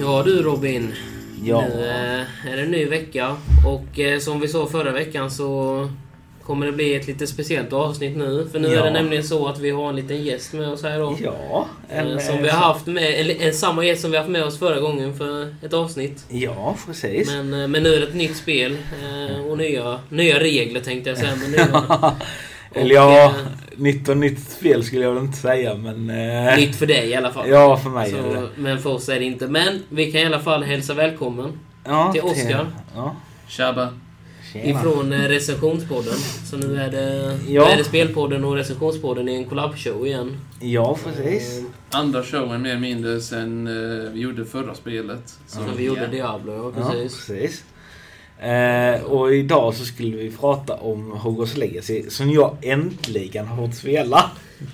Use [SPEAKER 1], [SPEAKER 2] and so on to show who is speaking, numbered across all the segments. [SPEAKER 1] Ja du Robin.
[SPEAKER 2] Ja.
[SPEAKER 1] Nu eh, är det en ny vecka och eh, som vi sa förra veckan så kommer det bli ett lite speciellt avsnitt nu. För nu
[SPEAKER 2] Ja.
[SPEAKER 1] är det nämligen så att vi har en liten gäst med oss här då.
[SPEAKER 2] Ja.
[SPEAKER 1] Eh,
[SPEAKER 2] en,
[SPEAKER 1] Som
[SPEAKER 2] eh,
[SPEAKER 1] vi har haft med, eller en samma gäst som vi haft med oss förra gången för ett avsnitt.
[SPEAKER 2] Ja, precis.
[SPEAKER 1] Men, eh, men nu är det ett nytt spel eh, och nya, nya regler tänkte jag säga. Men nya,
[SPEAKER 2] Eller ja,
[SPEAKER 1] eh,
[SPEAKER 2] nytt och nytt spel skulle jag väl inte säga, men... eh,
[SPEAKER 1] nytt alltså, för dig i alla fall.
[SPEAKER 2] Ja, för mig är
[SPEAKER 1] Så,
[SPEAKER 2] det.
[SPEAKER 1] men för oss är det inte. Men vi kan i alla fall hälsa välkommen
[SPEAKER 2] Ja,
[SPEAKER 1] till Oscar.
[SPEAKER 2] Ja.
[SPEAKER 3] Tjabba.
[SPEAKER 2] Tjena.
[SPEAKER 1] Ifrån eh, recensionspodden. Så nu är det,
[SPEAKER 2] Ja.
[SPEAKER 1] nu är det spelpodden och recensionspodden i en collab-show igen.
[SPEAKER 2] Ja,
[SPEAKER 1] Eh,
[SPEAKER 2] precis.
[SPEAKER 3] Andra showen mer eller mindre sen eh, vi gjorde förra spelet.
[SPEAKER 1] Som vi gjorde Diablo, ja
[SPEAKER 2] Ja,
[SPEAKER 1] precis.
[SPEAKER 2] precis. Eh, och idag så skulle vi prata om Hogwarts Legacy, som jag äntligen har fått spela.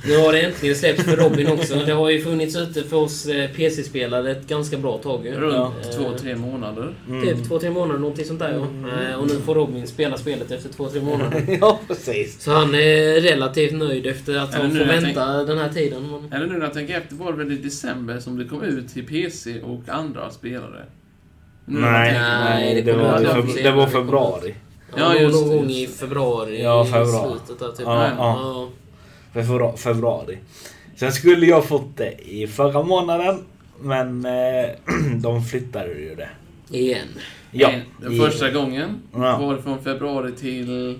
[SPEAKER 1] Nu har det äntligen släppts för Robin också. Det har ju funnits ute för oss eh, PC-spelare ett ganska bra tag ju.
[SPEAKER 3] Runt
[SPEAKER 1] Eh,
[SPEAKER 3] två, tre månader.
[SPEAKER 2] Mm.
[SPEAKER 1] Typ två, tre månader, någonting sånt där ja. Eh, Och nu får Robin spela spelet efter två, tre månader.
[SPEAKER 2] Mm. ja, precis.
[SPEAKER 1] Så han är relativt nöjd efter att
[SPEAKER 3] Är det
[SPEAKER 1] han
[SPEAKER 3] nu
[SPEAKER 1] får
[SPEAKER 3] jag
[SPEAKER 1] vänta den här tiden. Men-
[SPEAKER 3] Eller nu när jag tänker efter var det väl i december som det kom ut till PC och andra spelare? Nu när jag
[SPEAKER 2] Nej,
[SPEAKER 3] tänker-
[SPEAKER 1] Mm. Nej, det
[SPEAKER 2] det,
[SPEAKER 1] kommer
[SPEAKER 2] var,
[SPEAKER 1] jag
[SPEAKER 2] det,
[SPEAKER 1] inte
[SPEAKER 2] var,
[SPEAKER 1] ihåg.
[SPEAKER 2] det var februari.
[SPEAKER 1] Ja,
[SPEAKER 3] Ja, just
[SPEAKER 1] någon
[SPEAKER 3] det,
[SPEAKER 1] gång
[SPEAKER 3] just
[SPEAKER 1] i februari.
[SPEAKER 2] Ja,
[SPEAKER 1] i
[SPEAKER 2] februari.
[SPEAKER 1] Slutet där typ.
[SPEAKER 2] Ja, ja. Febru- februari. Sen skulle jag fått det i förra månaden. Men eh, de flyttade ju det.
[SPEAKER 1] Igen.
[SPEAKER 2] Ja,
[SPEAKER 3] Nej, Den
[SPEAKER 2] i
[SPEAKER 3] första gången
[SPEAKER 2] Ja.
[SPEAKER 3] var det från februari till...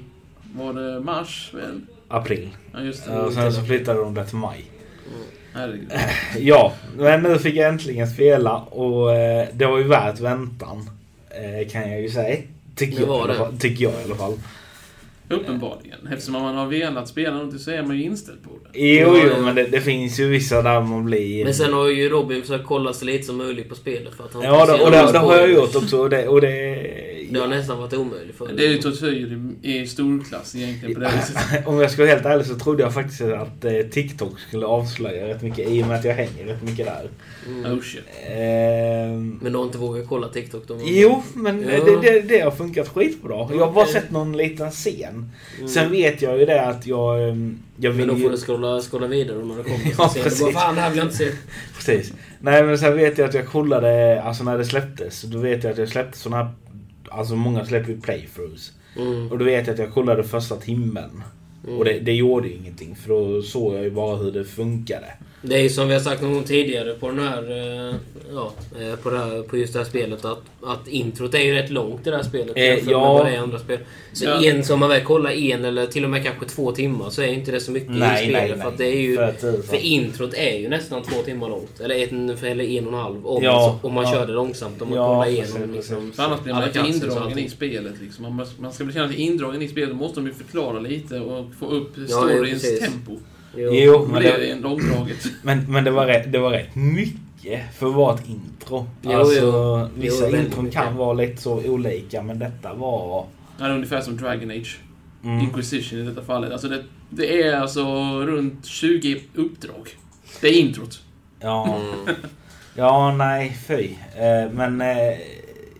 [SPEAKER 3] Var det mars väl?
[SPEAKER 2] april.
[SPEAKER 3] Ja, just det.
[SPEAKER 2] Och sen så flyttade de det till maj.
[SPEAKER 3] Herregud.
[SPEAKER 2] Ja, men nu fick jag äntligen spela och eh, det var ju värt väntan. Eh, kan jag ju säga. Tycker
[SPEAKER 1] Det
[SPEAKER 2] jag, i
[SPEAKER 1] var
[SPEAKER 2] alla
[SPEAKER 1] det.
[SPEAKER 2] fall- tycker jag i alla fall.
[SPEAKER 3] Uppenbarligen. Eftersom man har velat spela någonting så är man ju inställd på det.
[SPEAKER 2] Jo,
[SPEAKER 1] Ja, ja.
[SPEAKER 2] jo, men det, det finns ju vissa där man blir...
[SPEAKER 1] Men sen har ju Robin försökt kolla så lite som möjligt på spelet för att han
[SPEAKER 2] Ja, det, och det,
[SPEAKER 1] det,
[SPEAKER 2] det har jag gjort också. Och det, och det,
[SPEAKER 1] Det har nästan varit omöjligt för
[SPEAKER 3] Det är ju tortyr i, i storklass egentligen på det viset.
[SPEAKER 2] Om jag ska vara helt ärlig så trodde jag faktiskt att eh, TikTok skulle avslöja rätt mycket i och med att jag hänger rätt mycket där.
[SPEAKER 3] Oh shit.
[SPEAKER 2] Ehm,
[SPEAKER 1] Mm. Men du har inte vågat kolla TikTok då?
[SPEAKER 2] jo, men
[SPEAKER 1] Ja.
[SPEAKER 2] det, det, det har funkat skitbra. Jag har bara
[SPEAKER 1] Okej. Mm.
[SPEAKER 2] sett någon liten scen. Sen vet jag ju det att jag... ehm, jag
[SPEAKER 1] Men då
[SPEAKER 2] vill
[SPEAKER 1] får
[SPEAKER 2] ju,
[SPEAKER 1] du scrolla, scrolla vidare när det kommer.
[SPEAKER 2] Ja,
[SPEAKER 1] så ser
[SPEAKER 2] precis.
[SPEAKER 1] du bara, fan det här vill jag inte se.
[SPEAKER 2] precis. Nej, men sen vet jag att jag kollade, alltså när det släpptes, då vet jag att jag släppte såna här... Alltså många släpper ju playthroughs.
[SPEAKER 1] Mm.
[SPEAKER 2] Och då vet jag att jag kollade första timmen. Och det, det gjorde ju ingenting för då såg jag ju bara hur det funkade.
[SPEAKER 1] Det är ju som vi har sagt någon gång tidigare på den här... eh, Ja, eh, på, det här, på just det här spelet att, att introt är ju rätt långt i det här spelet
[SPEAKER 2] Eh,
[SPEAKER 1] jämfört
[SPEAKER 2] ja.
[SPEAKER 1] med vad det är i andra spel. Så
[SPEAKER 3] Ja.
[SPEAKER 1] en som man väl kollar en eller till och med kanske två timmar så är inte det så mycket
[SPEAKER 2] Nej,
[SPEAKER 1] i spelet.
[SPEAKER 2] nej, nej.
[SPEAKER 1] För, att det är ju,
[SPEAKER 2] För att det är så.
[SPEAKER 1] för introt är ju nästan två timmar långt. Eller en, eller en och en halv om,
[SPEAKER 2] Ja,
[SPEAKER 1] om man
[SPEAKER 2] ja.
[SPEAKER 1] kör det långsamt. Om man
[SPEAKER 2] Ja,
[SPEAKER 1] kollar
[SPEAKER 2] precis,
[SPEAKER 1] igenom
[SPEAKER 2] precis.
[SPEAKER 1] liksom...
[SPEAKER 3] För annars blir
[SPEAKER 1] alla
[SPEAKER 3] man inte
[SPEAKER 1] chanser och
[SPEAKER 3] indragen
[SPEAKER 1] allting.
[SPEAKER 3] i spelet. Liksom. Man, måste- man ska bli känna sig indragen i spelet. Då måste de ju förklara lite och få upp storyns
[SPEAKER 1] precis.
[SPEAKER 3] tempo.
[SPEAKER 1] Jo.
[SPEAKER 2] Jo,
[SPEAKER 3] Då
[SPEAKER 2] men
[SPEAKER 3] blir det
[SPEAKER 2] det,
[SPEAKER 3] en långdraget.
[SPEAKER 2] men, men det, var rätt, det var rätt mycket för att vara ett intro.
[SPEAKER 1] Jo,
[SPEAKER 2] alltså,
[SPEAKER 1] jo.
[SPEAKER 2] Vissa
[SPEAKER 1] Jo, väldigt
[SPEAKER 2] intron
[SPEAKER 1] mycket.
[SPEAKER 2] kan vara lite så olika men detta var...
[SPEAKER 3] Ja, det är ungefär som Dragon Age.
[SPEAKER 2] Mm.
[SPEAKER 3] Inquisition i detta fallet. Alltså det, det är alltså runt 20 uppdrag. Det är introt.
[SPEAKER 2] Ja,
[SPEAKER 1] Mm.
[SPEAKER 2] ja nej fy. Eh, Men eh,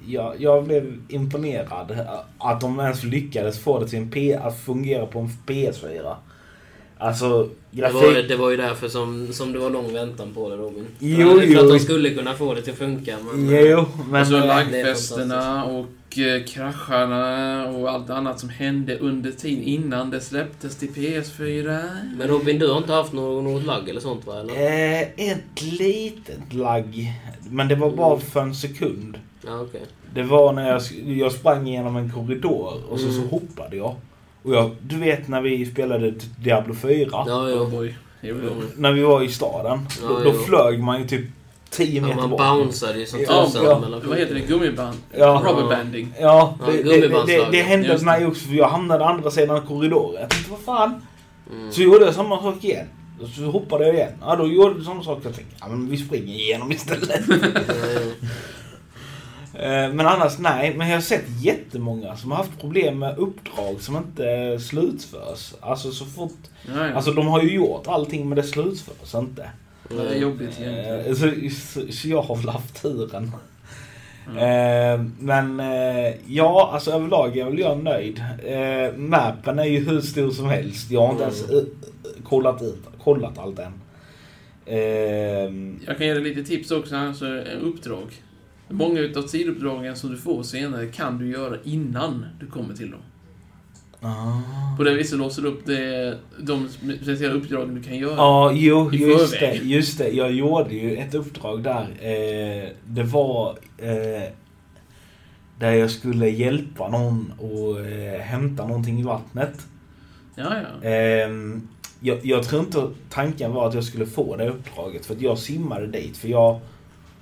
[SPEAKER 2] jag, jag blev imponerad eh, att de ens lyckades få det till en P, att fungera på en PS4. Alltså
[SPEAKER 1] Det var,
[SPEAKER 2] grafik...
[SPEAKER 1] det var ju därför som, som det var lång väntan på det Robin.
[SPEAKER 2] Jo,
[SPEAKER 1] för att
[SPEAKER 2] jo.
[SPEAKER 1] de skulle kunna få det till att funka. Men,
[SPEAKER 2] Jo, men...
[SPEAKER 3] Och
[SPEAKER 1] Alltså,
[SPEAKER 3] så
[SPEAKER 2] eh,
[SPEAKER 3] Alltså, lagfesterna och eh, krascharna och allt annat som hände under tiden innan det släpptes till PS4.
[SPEAKER 1] men Robin, du har inte haft något, något lagg eller sånt va? Eller?
[SPEAKER 2] Eh, ett litet lagg. Men det var
[SPEAKER 1] Mm.
[SPEAKER 2] bara för en sekund.
[SPEAKER 1] Ja, okej.
[SPEAKER 2] Det var när jag, sk- jag sprang genom en korridor och så, så
[SPEAKER 1] Mm.
[SPEAKER 2] hoppade jag. Och jag, du vet när vi spelade Diablo 4.
[SPEAKER 1] Ja,
[SPEAKER 3] Oh
[SPEAKER 1] jo.
[SPEAKER 3] boy. Jo, jo.
[SPEAKER 2] När vi var i staden.
[SPEAKER 1] Ja,
[SPEAKER 2] då då
[SPEAKER 1] jo.
[SPEAKER 2] flög man ju typ 10
[SPEAKER 1] Ja,
[SPEAKER 2] meter
[SPEAKER 1] man
[SPEAKER 2] bort.
[SPEAKER 1] bounceade ju som
[SPEAKER 2] Ja,
[SPEAKER 1] tusan
[SPEAKER 2] ja.
[SPEAKER 1] mellan
[SPEAKER 3] Vad heter det? Gummiband?
[SPEAKER 2] Ja.
[SPEAKER 3] Rubberbanding.
[SPEAKER 2] Ja,
[SPEAKER 1] Ja,
[SPEAKER 2] det, det, det, det, det
[SPEAKER 1] gummibandsslaget.
[SPEAKER 2] hände
[SPEAKER 3] Just
[SPEAKER 2] för mig också för jag hamnade andra sidan korridoren. Jag tänkte, vad fan?
[SPEAKER 1] Mm.
[SPEAKER 2] Så gjorde jag samma sak igen. Och Så hoppade jag igen. Ja, då gjorde jag samma sak. Jag tänkte, ja men vi springer igenom istället.
[SPEAKER 1] Eh,
[SPEAKER 2] Eh, Men annars nej, men jag har sett jättemånga som har haft problem med uppdrag som inte eh, slutförs. Alltså så fort...
[SPEAKER 3] Ja, ja.
[SPEAKER 2] Alltså de har ju gjort allting men det slutförs inte.
[SPEAKER 3] Ja, det är jobbigt egentligen.
[SPEAKER 2] Eh, Så, så, så jag har väl haft turen.
[SPEAKER 3] Mm.
[SPEAKER 2] Eh, Men eh, ja, alltså överlag är väl jag nöjd. Eh, Mappen är ju hur stor som helst. Jag har inte ens eh, kollat, ut, kollat allt än. Eh,
[SPEAKER 3] Jag kan ge dig lite tips också, alltså eh, uppdrag. Många utav sidouppdragen som du får senare kan du göra innan du kommer till dem.
[SPEAKER 2] Ah.
[SPEAKER 3] På det viset låser du upp det, de speciella uppdragen du kan göra.
[SPEAKER 2] Ja, jo,
[SPEAKER 3] I
[SPEAKER 2] just det,
[SPEAKER 3] förväg.
[SPEAKER 2] just det. Jag gjorde ju ett uppdrag där. Eh, det var eh, där jag skulle hjälpa någon och eh, hämta någonting i vattnet.
[SPEAKER 3] Ja, ja.
[SPEAKER 2] Ehm, jag, jag tror inte tanken var att jag skulle få det uppdraget för att jag simmade dit för jag,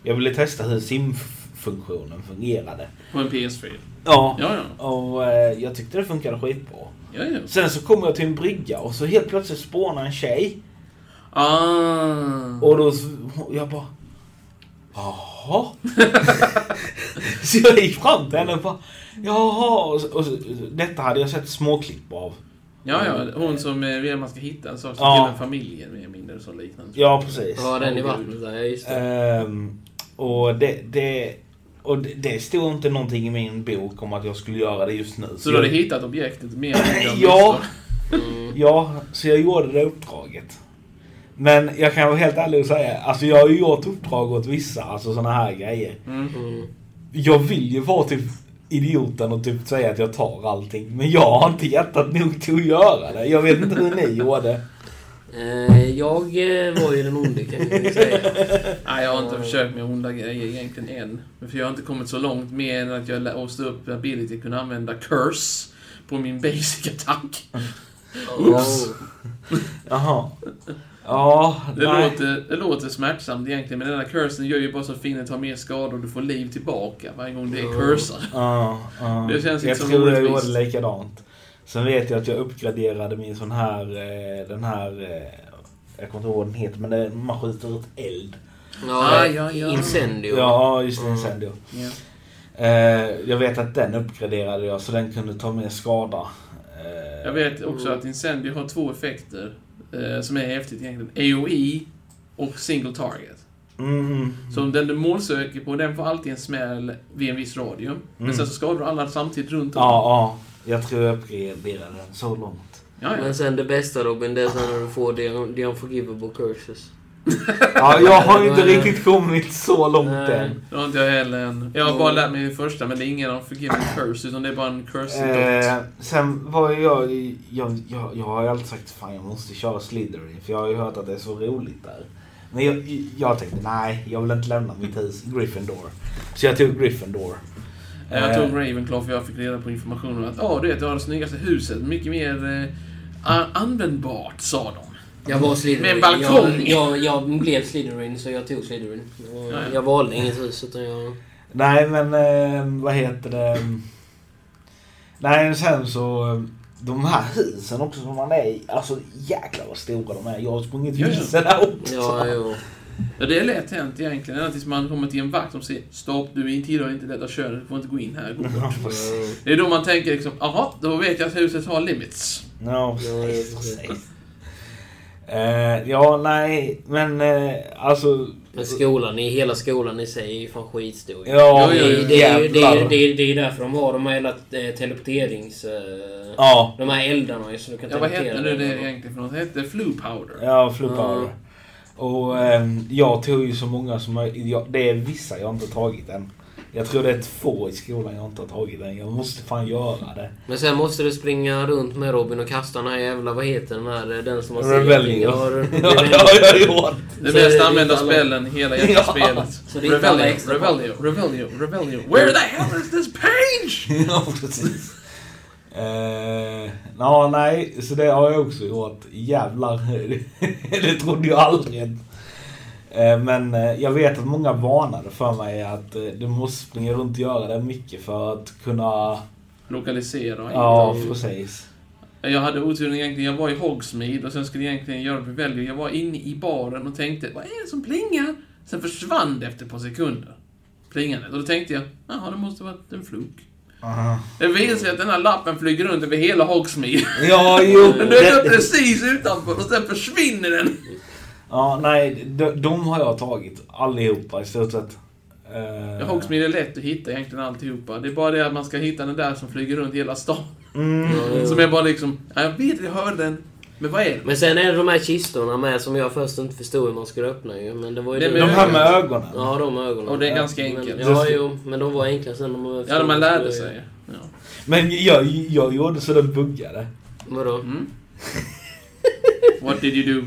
[SPEAKER 2] jag ville testa hur simfunktionen fungerade.
[SPEAKER 3] På en PS4.
[SPEAKER 2] Ja.
[SPEAKER 3] Ja, ja.
[SPEAKER 2] Och eh, jag tyckte det funkade skitbra.
[SPEAKER 3] Ja, ja.
[SPEAKER 2] Sen så kommer jag till en brygga och så helt plötsligt spånar en tjej.
[SPEAKER 3] Ah.
[SPEAKER 2] Och då så- jag bara... Jaha? så jag gick fram till henne och bara... Jaha? Och så, och så, detta hade jag sett småklipp av.
[SPEAKER 3] Ja, ja. Hon som eh, vill att man ska hitta en sak som
[SPEAKER 2] Ja.
[SPEAKER 3] tillhör familjen, mer eller mindre, och så liknande.
[SPEAKER 2] Ja, precis.
[SPEAKER 1] Ja, den i vattnet där. Ja, just det.
[SPEAKER 2] Ehm, och det, det, och det, det stod inte någonting i min bok om att jag skulle göra det just nu.
[SPEAKER 3] Så du hade
[SPEAKER 2] jag,
[SPEAKER 3] hittat objektet mer än du hade
[SPEAKER 2] Ja.
[SPEAKER 3] missat.
[SPEAKER 1] Mm.
[SPEAKER 2] ja, så jag gjorde det uppdraget. Men jag kan vara helt ärlig och säga, alltså jag har ju gjort uppdrag åt vissa, alltså såna här grejer.
[SPEAKER 3] Mm.
[SPEAKER 1] Mm.
[SPEAKER 2] Jag vill ju vara typ idioten och typ säga att jag tar allting. Men jag har inte hjärtat nog till att göra det. Jag vet inte hur ni gjorde.
[SPEAKER 1] Eh, jag eh, var ju den onde kan jag säga.
[SPEAKER 3] Nej, jag har inte
[SPEAKER 1] Ja.
[SPEAKER 3] försökt med onda grejer egentligen än. Men För jag har inte kommit så långt mer än att jag låste upp ability att kunna använda curse på min basic attack.
[SPEAKER 1] Oops.
[SPEAKER 2] Jaha. Ja,
[SPEAKER 3] Det
[SPEAKER 2] nej.
[SPEAKER 3] låter, det låter smärtsamt egentligen, men den här cursen gör ju bara så att Finnet tar mer skador och du får liv tillbaka varje gång det är
[SPEAKER 1] Ja.
[SPEAKER 3] cursar.
[SPEAKER 2] Ja, ja.
[SPEAKER 3] Det känns
[SPEAKER 2] jag
[SPEAKER 3] liksom
[SPEAKER 2] tror jag
[SPEAKER 3] orättvist.
[SPEAKER 2] gjorde likadant. Sen vet jag att jag uppgraderade min sån här, eh, den här, eh, jag kommer inte ihåg vad den heter, men det, man skjuter ut eld.
[SPEAKER 1] Ja, eh,
[SPEAKER 3] Ah, ja, ja.
[SPEAKER 1] Incendio.
[SPEAKER 2] Ja, just det,
[SPEAKER 1] Mm.
[SPEAKER 2] incendio.
[SPEAKER 3] Ja.
[SPEAKER 2] Eh, jag vet att den uppgraderade jag så den kunde ta mer skada. Eh,
[SPEAKER 3] Jag vet också att Incendio har två effekter eh, som är häftigt egentligen. AOE och single target.
[SPEAKER 2] Mm, mm,
[SPEAKER 3] Så om den du målsöker på, den får alltid en smäll vid en viss radio. Men
[SPEAKER 2] Mm.
[SPEAKER 3] sen så skadar du alla samtidigt runt om.
[SPEAKER 2] Ja, ja. Jag tror jag uppgraderade den så långt.
[SPEAKER 3] Ja, ja.
[SPEAKER 1] Men sen det bästa Robin, det är sen när du får the, the unforgivable curses.
[SPEAKER 2] Ja, jag har ju inte
[SPEAKER 1] Nej.
[SPEAKER 2] riktigt kommit så långt
[SPEAKER 1] Nej.
[SPEAKER 2] än.
[SPEAKER 3] Det har inte jag heller än. Jag har bara lärt mig den första, men det är ingen av Forgiven Curse, utan det är bara en curse dot.
[SPEAKER 2] Eh, sen var jag, jag, jag, jag har ju alltid sagt fan jag måste köra Slytherin för jag har ju hört att det är så roligt där. Men jag, jag tänkte nej, jag vill inte lämna mitt hus, Gryffindor. Så jag tog Gryffindor.
[SPEAKER 3] Eh, Jag tog Ravenclaw för jag fick reda på informationen att ja, du vet, du har det snyggaste huset. Mycket mer eh, a- användbart, sa de.
[SPEAKER 1] Jag var Slytherin.
[SPEAKER 3] Med en balkong.
[SPEAKER 1] Jag, jag, jag blev Slytherin, så jag tog Slytherin. Och
[SPEAKER 3] Ja, ja.
[SPEAKER 1] Jag valde inget hus, utan jag...
[SPEAKER 2] Nej men eh, vad heter det? Nej men sen så eh, de här husen också som man är i, alltså jäklar vad stora de är. Jag har sprungit
[SPEAKER 3] Ja, ja.
[SPEAKER 2] vilse där också.
[SPEAKER 1] Ja, jo.
[SPEAKER 3] Ja, det är lätt hänt egentligen, ända tills man kommer till en vakt som säger Stopp, du är inte tillhör inte detta könet, du får inte gå in här. Gå bort.
[SPEAKER 1] Ja,
[SPEAKER 3] Det är då man tänker liksom, aha, då vet jag att huset har limits.
[SPEAKER 2] Ja,
[SPEAKER 1] Ja,
[SPEAKER 2] precis.
[SPEAKER 1] just det.
[SPEAKER 2] precis. Eh, ja, nej, men eh, alltså...
[SPEAKER 1] Men skolan, i hela skolan i sig är ju fan skitstor.
[SPEAKER 2] Ja,
[SPEAKER 1] det, är- det, är ju- det, är ju-
[SPEAKER 2] jävlar.
[SPEAKER 1] det, är- det är därför de har de här hela eh, teleporterings... eh,
[SPEAKER 2] Ja,
[SPEAKER 1] De här eldarna ju, så du kan
[SPEAKER 3] Ja, vad hette nu det
[SPEAKER 1] dig.
[SPEAKER 3] egentligen för något? Det hette Flu Powder.
[SPEAKER 2] ja fluppar.
[SPEAKER 1] Ja.
[SPEAKER 2] Och eh, jag tog ju så många som möjligt. Jag, det är vissa jag inte har tagit än. Jag tror det är två i skolan jag inte har tagit än. Jag måste fan göra det.
[SPEAKER 1] Men sen måste du springa runt med Robin och kasta den här jävla... Vad heter den här? eh, Den som har
[SPEAKER 2] Rebellion.
[SPEAKER 1] Ja,
[SPEAKER 2] Ja,
[SPEAKER 1] Rebellion.
[SPEAKER 2] det har jag gjort.
[SPEAKER 3] Det
[SPEAKER 1] Så det är
[SPEAKER 3] bäst
[SPEAKER 1] inte
[SPEAKER 3] använda
[SPEAKER 1] alla-
[SPEAKER 3] spelen i hela jävla
[SPEAKER 2] Ja.
[SPEAKER 3] spelet.
[SPEAKER 1] Så det är inte alla
[SPEAKER 3] Revelio,
[SPEAKER 1] extra
[SPEAKER 3] Revelio, Revelio, Revelio. Where the hell is this page?
[SPEAKER 2] ja, precis. Eh, ja, nej, så det har jag också gjort. Jävlar, det trodde jag aldrig. Eh, men eh, jag vet att många varnade för mig att eh, du måste springa runt och göra det mycket för att kunna...
[SPEAKER 3] Lokalisera.
[SPEAKER 2] Ja, precis.
[SPEAKER 3] Jag hade oturen egentligen, jag var i Hogsmeade och sen skulle jag egentligen göra Revelio. Jag var inne i baren och tänkte, vad är det som plingar? Sen försvann det efter ett par sekunder. Plingandet. Och då tänkte jag, jaha, det måste varit en fluk. Det visar sig att den här lappen flyger runt över hela Hogsmeade.
[SPEAKER 2] Ja, jo.
[SPEAKER 3] Den dök upp
[SPEAKER 2] det-
[SPEAKER 3] precis utanför och sen försvinner den.
[SPEAKER 2] Ja, nej, de, de har jag tagit allihopa i stort sett. Eh,
[SPEAKER 3] Ja, Hogsmeade är lätt att hitta egentligen alltihopa. Det är bara det att man ska hitta den där som flyger runt hela stan.
[SPEAKER 2] Mm,
[SPEAKER 1] Mm.
[SPEAKER 3] Som är bara liksom, "Ja, jag vet, jag hörde den. Men vad är det?
[SPEAKER 1] Men sen är det de här kistorna med som jag först inte förstod hur man skulle öppna ju. Men det var ju
[SPEAKER 3] Nej,
[SPEAKER 1] det.
[SPEAKER 2] De
[SPEAKER 3] men-
[SPEAKER 2] här med ögonen.
[SPEAKER 1] Ja, de ögonen.
[SPEAKER 3] Och det är ganska
[SPEAKER 1] men,
[SPEAKER 3] enkelt.
[SPEAKER 1] Ja, jo. Men de var enkla sen när man
[SPEAKER 3] Ja,
[SPEAKER 1] förstod
[SPEAKER 3] man
[SPEAKER 1] vad det
[SPEAKER 3] lärde
[SPEAKER 1] var.
[SPEAKER 3] sig. Ja.
[SPEAKER 2] Men jag, jag gjorde så den buggade.
[SPEAKER 1] Vadå?
[SPEAKER 3] Mm. What did you do?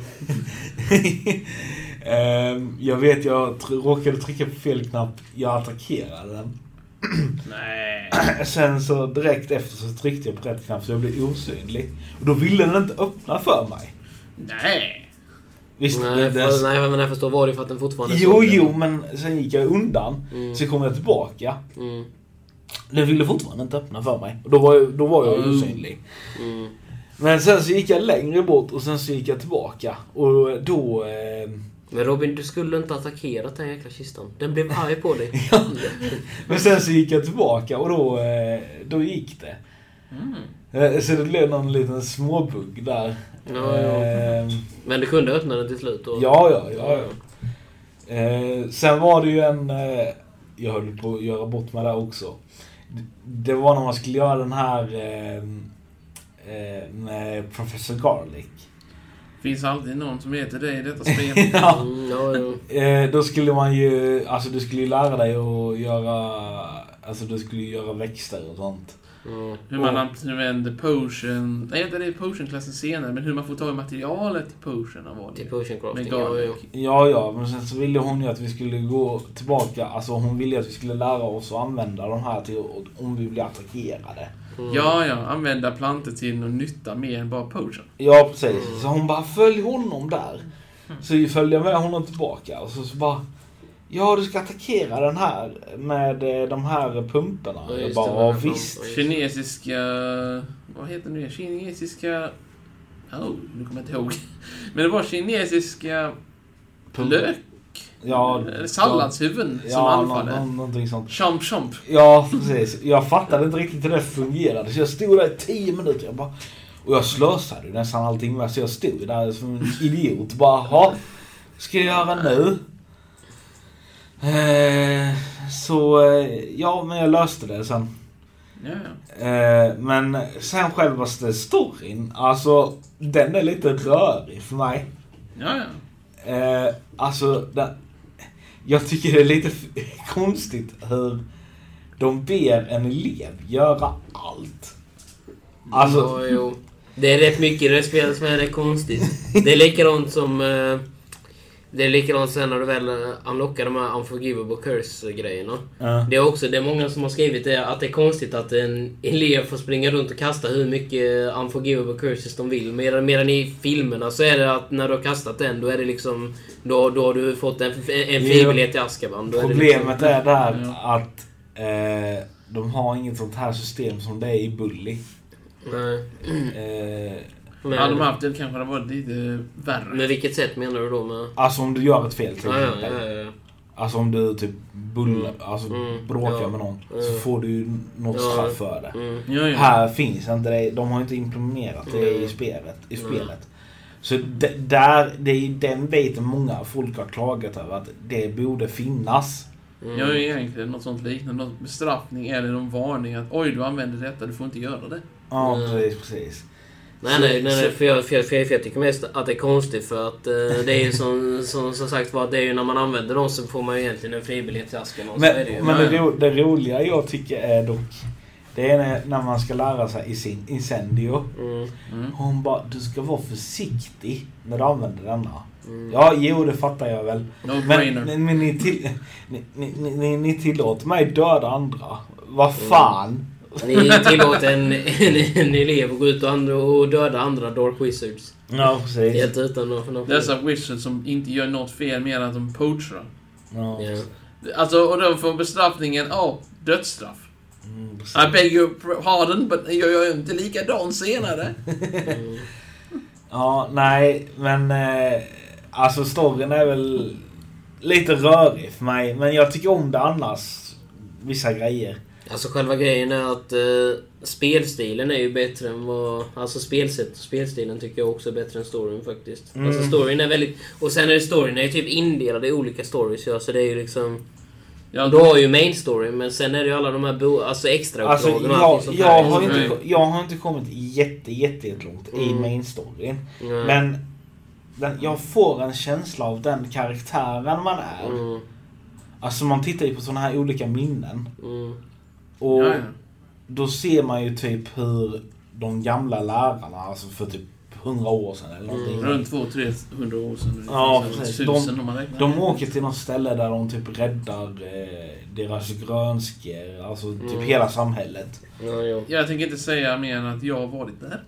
[SPEAKER 2] Ehm, jag vet, jag tr- råkade trycka på fel knapp. Jag attackerade den.
[SPEAKER 3] Nej.
[SPEAKER 2] Sen så direkt efter så tryckte jag på rätt knapp så jag blev osynlig. Och då ville den inte öppna för mig.
[SPEAKER 3] Nej.
[SPEAKER 2] Visst,
[SPEAKER 1] Nej,
[SPEAKER 2] det-
[SPEAKER 1] för, nej, men jag förstår. Var det för att den fortfarande
[SPEAKER 2] Jo,
[SPEAKER 1] stod där?
[SPEAKER 2] jo, men sen gick jag undan.
[SPEAKER 1] Mm.
[SPEAKER 2] Så kom jag tillbaka.
[SPEAKER 1] Mm.
[SPEAKER 2] Den ville fortfarande inte öppna för mig. Och då var jag, då var jag
[SPEAKER 3] Mm.
[SPEAKER 2] osynlig.
[SPEAKER 1] Mm.
[SPEAKER 2] Men sen så gick jag längre bort och sen så gick jag tillbaka. Och då... Eh,
[SPEAKER 1] Men Robin, du skulle inte attackerat den jäkla kistan. Den blev arg på dig.
[SPEAKER 2] men sen så gick jag tillbaka och då, eh, då gick det.
[SPEAKER 3] Mm.
[SPEAKER 2] Eh, Så det blev någon liten småbugg där.
[SPEAKER 1] Ja, ja.
[SPEAKER 2] Eh,
[SPEAKER 1] Men du kunde öppna den till slut? Och...
[SPEAKER 2] ja, ja, ja. ja. Eh, sen var det ju en... Eh, jag höll på att göra bort mig där också. D- Det var när man skulle göra den här eh, eh, med Professor Garlic.
[SPEAKER 3] Finns alltid någon som heter det i detta spel.
[SPEAKER 2] ja.
[SPEAKER 1] Mm, ja, ja.
[SPEAKER 2] eh, då skulle man ju... Alltså du skulle ju lära dig att göra... Alltså du skulle ju göra växter och sånt.
[SPEAKER 1] Mm.
[SPEAKER 3] Hur man använder potion... Nej, det är potionklassen senare, men hur man får tag i materialet till potionerna var det
[SPEAKER 1] Till
[SPEAKER 3] ju.
[SPEAKER 1] potion
[SPEAKER 3] Med
[SPEAKER 1] crafting. Ja, ja.
[SPEAKER 3] garlic.
[SPEAKER 2] Ja, ja, men sen så ville hon ju att vi skulle gå tillbaka. Alltså hon ville ju att vi skulle lära oss att använda de här till om vi blir attackerade.
[SPEAKER 1] Mm.
[SPEAKER 3] Ja, ja. Använda plantor till någon nytta mer än bara potion.
[SPEAKER 2] Ja, precis. Så hon bara, följ honom där. Så följde jag med honom tillbaka och så, så bara, ja du ska attackera den här med eh, de här pumporna.
[SPEAKER 1] Ja,
[SPEAKER 2] jag
[SPEAKER 1] just
[SPEAKER 2] bara,
[SPEAKER 1] det,
[SPEAKER 2] ja
[SPEAKER 1] med de-
[SPEAKER 2] visst.
[SPEAKER 3] Kinesiska... Vad heter det nu? Kinesiska... Oh, nu kommer jag inte ihåg. Men det var kinesiska
[SPEAKER 2] Pump-
[SPEAKER 3] lök.
[SPEAKER 2] Ja,
[SPEAKER 3] Eller salladshuvuden som
[SPEAKER 2] ja, nå- nå-
[SPEAKER 3] anfaller.
[SPEAKER 2] någonting sånt.
[SPEAKER 3] Chomp chomp.
[SPEAKER 2] Ja, precis. Jag fattade inte riktigt hur det fungerade så jag stod där i tio minuter. Jag bara, och jag slösade ju nästan allting med så jag stod där som en idiot. Bara, "Jaha, ska jag göra nu? Eh, så, eh, ja men jag löste det sen.
[SPEAKER 3] Ja, ja.
[SPEAKER 2] Eh, men sen självaste storyn, alltså den är lite rörig för mig.
[SPEAKER 3] ja, ja.
[SPEAKER 2] Eh, alltså, den, jag tycker det är lite f- konstigt hur de ber en elev göra allt. Alltså,
[SPEAKER 1] Ja, jo. Det är rätt mycket i det spelet som är rätt konstigt. Det är likadant som... eh, Det är likadant sen när du väl eh, unlockar de här unforgivable curse-grejerna.
[SPEAKER 2] eh,
[SPEAKER 1] Det är också, det är många som har skrivit det, att det är konstigt att en elev får springa runt och kasta hur mycket unforgivable curses de vill. Medan, medan i filmerna så är det att när du har kastat den, då är det liksom... Då, då har du fått en, en
[SPEAKER 2] Jo.
[SPEAKER 1] fribiljett till Azkaban. Då är det liksom-
[SPEAKER 2] problemet är där
[SPEAKER 3] Ja.
[SPEAKER 2] att eh, de har inget sånt här system som det är i Bully.
[SPEAKER 1] Liksom, nej.
[SPEAKER 2] Eh,
[SPEAKER 1] Men,
[SPEAKER 3] Hade de haft det kanske det hade varit lite värre.
[SPEAKER 1] med vilket sätt menar du då med...
[SPEAKER 2] alltså om du gör ett fel till
[SPEAKER 1] Ja, ja,
[SPEAKER 2] exempel.
[SPEAKER 1] ja, ja.
[SPEAKER 2] Alltså om du typ bullar, alltså
[SPEAKER 1] Mm.
[SPEAKER 2] bråkar
[SPEAKER 1] Ja.
[SPEAKER 2] med någon så
[SPEAKER 1] Mm.
[SPEAKER 2] får du ju något
[SPEAKER 1] Ja.
[SPEAKER 2] straff för det.
[SPEAKER 1] Mm.
[SPEAKER 3] Ja, ja.
[SPEAKER 2] Här finns inte det, de har inte implementerat det i
[SPEAKER 1] Mm.
[SPEAKER 2] spelet. I
[SPEAKER 1] Mm.
[SPEAKER 2] spelet. Så d- där, det är ju den biten många folk har klagat över att det borde finnas.
[SPEAKER 1] Mm.
[SPEAKER 3] Jag är egentligen något sånt liknande. Någon bestraffning eller någon varning att oj, du använder detta, du får inte göra det.
[SPEAKER 2] Ja
[SPEAKER 1] Mm.
[SPEAKER 2] precis, precis.
[SPEAKER 1] Nej, nej, nej, nej för, jag, för, jag, för, jag, för jag tycker mest att det är konstigt för att eh, det är ju som, som, som sagt var, det är ju när man använder dem så får man ju egentligen en fribiljett till Asken. och så är det ju.
[SPEAKER 2] Men, men det,
[SPEAKER 3] Ja, ja.
[SPEAKER 2] ro, det roliga jag tycker är dock det är när- när man ska lära sig i sin incendio.
[SPEAKER 1] Mm,
[SPEAKER 3] Mm.
[SPEAKER 2] Hon bara, du ska vara försiktig när du använder denna.
[SPEAKER 1] mm.
[SPEAKER 2] Ja, jo det fattar jag väl.
[SPEAKER 3] No brainer.
[SPEAKER 2] Men, men, men ni, till, ni, ni, ni- ni, ni tillåter mig döda andra. Vad
[SPEAKER 1] Mm.
[SPEAKER 2] fan?
[SPEAKER 1] Ni tillåter en, en, en elev att gå ut och, andra, och döda andra Dark Wizards.
[SPEAKER 2] Ja, precis.
[SPEAKER 1] Helt utan någon någon-
[SPEAKER 3] Dessa wizards som inte gör något fel mer än att de poachar.
[SPEAKER 2] Ja.
[SPEAKER 1] Ja.
[SPEAKER 3] Alltså, och de får bestraffningen, ja, dödsstraff.
[SPEAKER 2] Mm, precis.
[SPEAKER 3] I beg your pardon, but jag gör inte likadant senare.
[SPEAKER 1] Mm.
[SPEAKER 2] Ja, nej, men eh, alltså storyn är väl lite rörig för mig. Men jag tycker om det annars. Vissa grejer.
[SPEAKER 1] Alltså själva grejen är att eh, spelstilen är ju bättre än vad... Alltså spelsättet och spelstilen tycker jag också är bättre än storyn faktiskt.
[SPEAKER 2] Mm.
[SPEAKER 1] Alltså storyn är väldigt... Och sen är det storyn är ju typ indelad i olika stories ja, så det är ju liksom...
[SPEAKER 3] Jag,
[SPEAKER 1] Du har ju main story, men sen är det ju alla de här bo- alltså extra
[SPEAKER 2] Alltså,
[SPEAKER 1] och allting
[SPEAKER 2] jag,
[SPEAKER 1] sånt
[SPEAKER 2] jag,
[SPEAKER 1] här.
[SPEAKER 2] har
[SPEAKER 3] Nej.
[SPEAKER 2] inte, jag har inte kommit jätte, jätte, jätte långt i
[SPEAKER 1] Mm.
[SPEAKER 2] main storyn.
[SPEAKER 1] Nej.
[SPEAKER 2] Men den, jag får en känsla av den karaktären man är.
[SPEAKER 1] Mm,
[SPEAKER 2] Alltså man tittar ju på sådana här olika minnen.
[SPEAKER 1] mm,
[SPEAKER 2] Och
[SPEAKER 3] ja, ja.
[SPEAKER 2] då ser man ju typ hur de gamla lärarna, alltså för typ 100 år sedan eller någonting.
[SPEAKER 3] Runt 200-300 år sedan.
[SPEAKER 2] Ja,
[SPEAKER 3] Runt
[SPEAKER 2] precis.
[SPEAKER 3] Tusen
[SPEAKER 2] De-
[SPEAKER 3] om man räknar.
[SPEAKER 2] De åker till något ställe där de typ räddar eh, deras grönskor, alltså typ
[SPEAKER 1] Mm.
[SPEAKER 2] hela samhället.
[SPEAKER 1] ja, ja.
[SPEAKER 3] Jag tänker inte säga mer än att jag har varit där.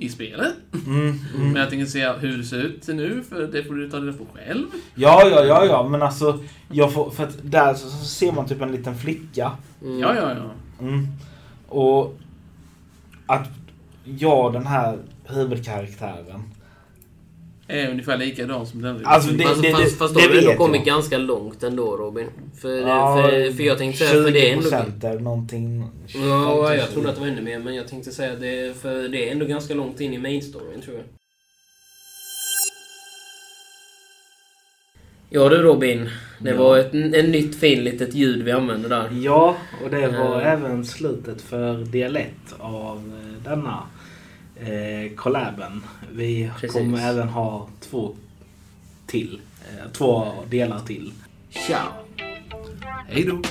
[SPEAKER 3] I spelet.
[SPEAKER 2] Mm, mm.
[SPEAKER 3] Men jag tänker säga hur det ser ut nu, för det får du ta reda på själv.
[SPEAKER 2] Ja, ja, ja, ja, men alltså jag får, för att där så, så ser man typ en liten flicka.
[SPEAKER 1] Mm.
[SPEAKER 3] Ja, ja, ja.
[SPEAKER 2] Mm. Och att jag, den här huvudkaraktären,
[SPEAKER 3] Är ungefär likadan som den.
[SPEAKER 2] Alltså, det-
[SPEAKER 1] Fast, fast, fast då
[SPEAKER 2] det
[SPEAKER 1] har vi ändå
[SPEAKER 2] vet
[SPEAKER 1] kommit
[SPEAKER 2] jag.
[SPEAKER 1] ganska långt ändå Robin. För,
[SPEAKER 2] Ja,
[SPEAKER 1] för, för jag tänkte säga, för det är ändå...
[SPEAKER 2] 20% eller någonting.
[SPEAKER 1] Ja, jag trodde att det var ännu mer, men jag tänkte säga att det, för det är ändå ganska långt in i main storyn tror jag. Ja du Robin, det
[SPEAKER 2] Ja.
[SPEAKER 1] var ett, ett nytt fint litet ljud vi använde där.
[SPEAKER 4] Ja, och det var
[SPEAKER 1] Eh.
[SPEAKER 4] även slutet för dialekt av eh, denna eh, collaben. Vi
[SPEAKER 1] Precis.
[SPEAKER 4] kommer även ha två till. Eh, två delar till.
[SPEAKER 1] Ciao!
[SPEAKER 3] Hej då!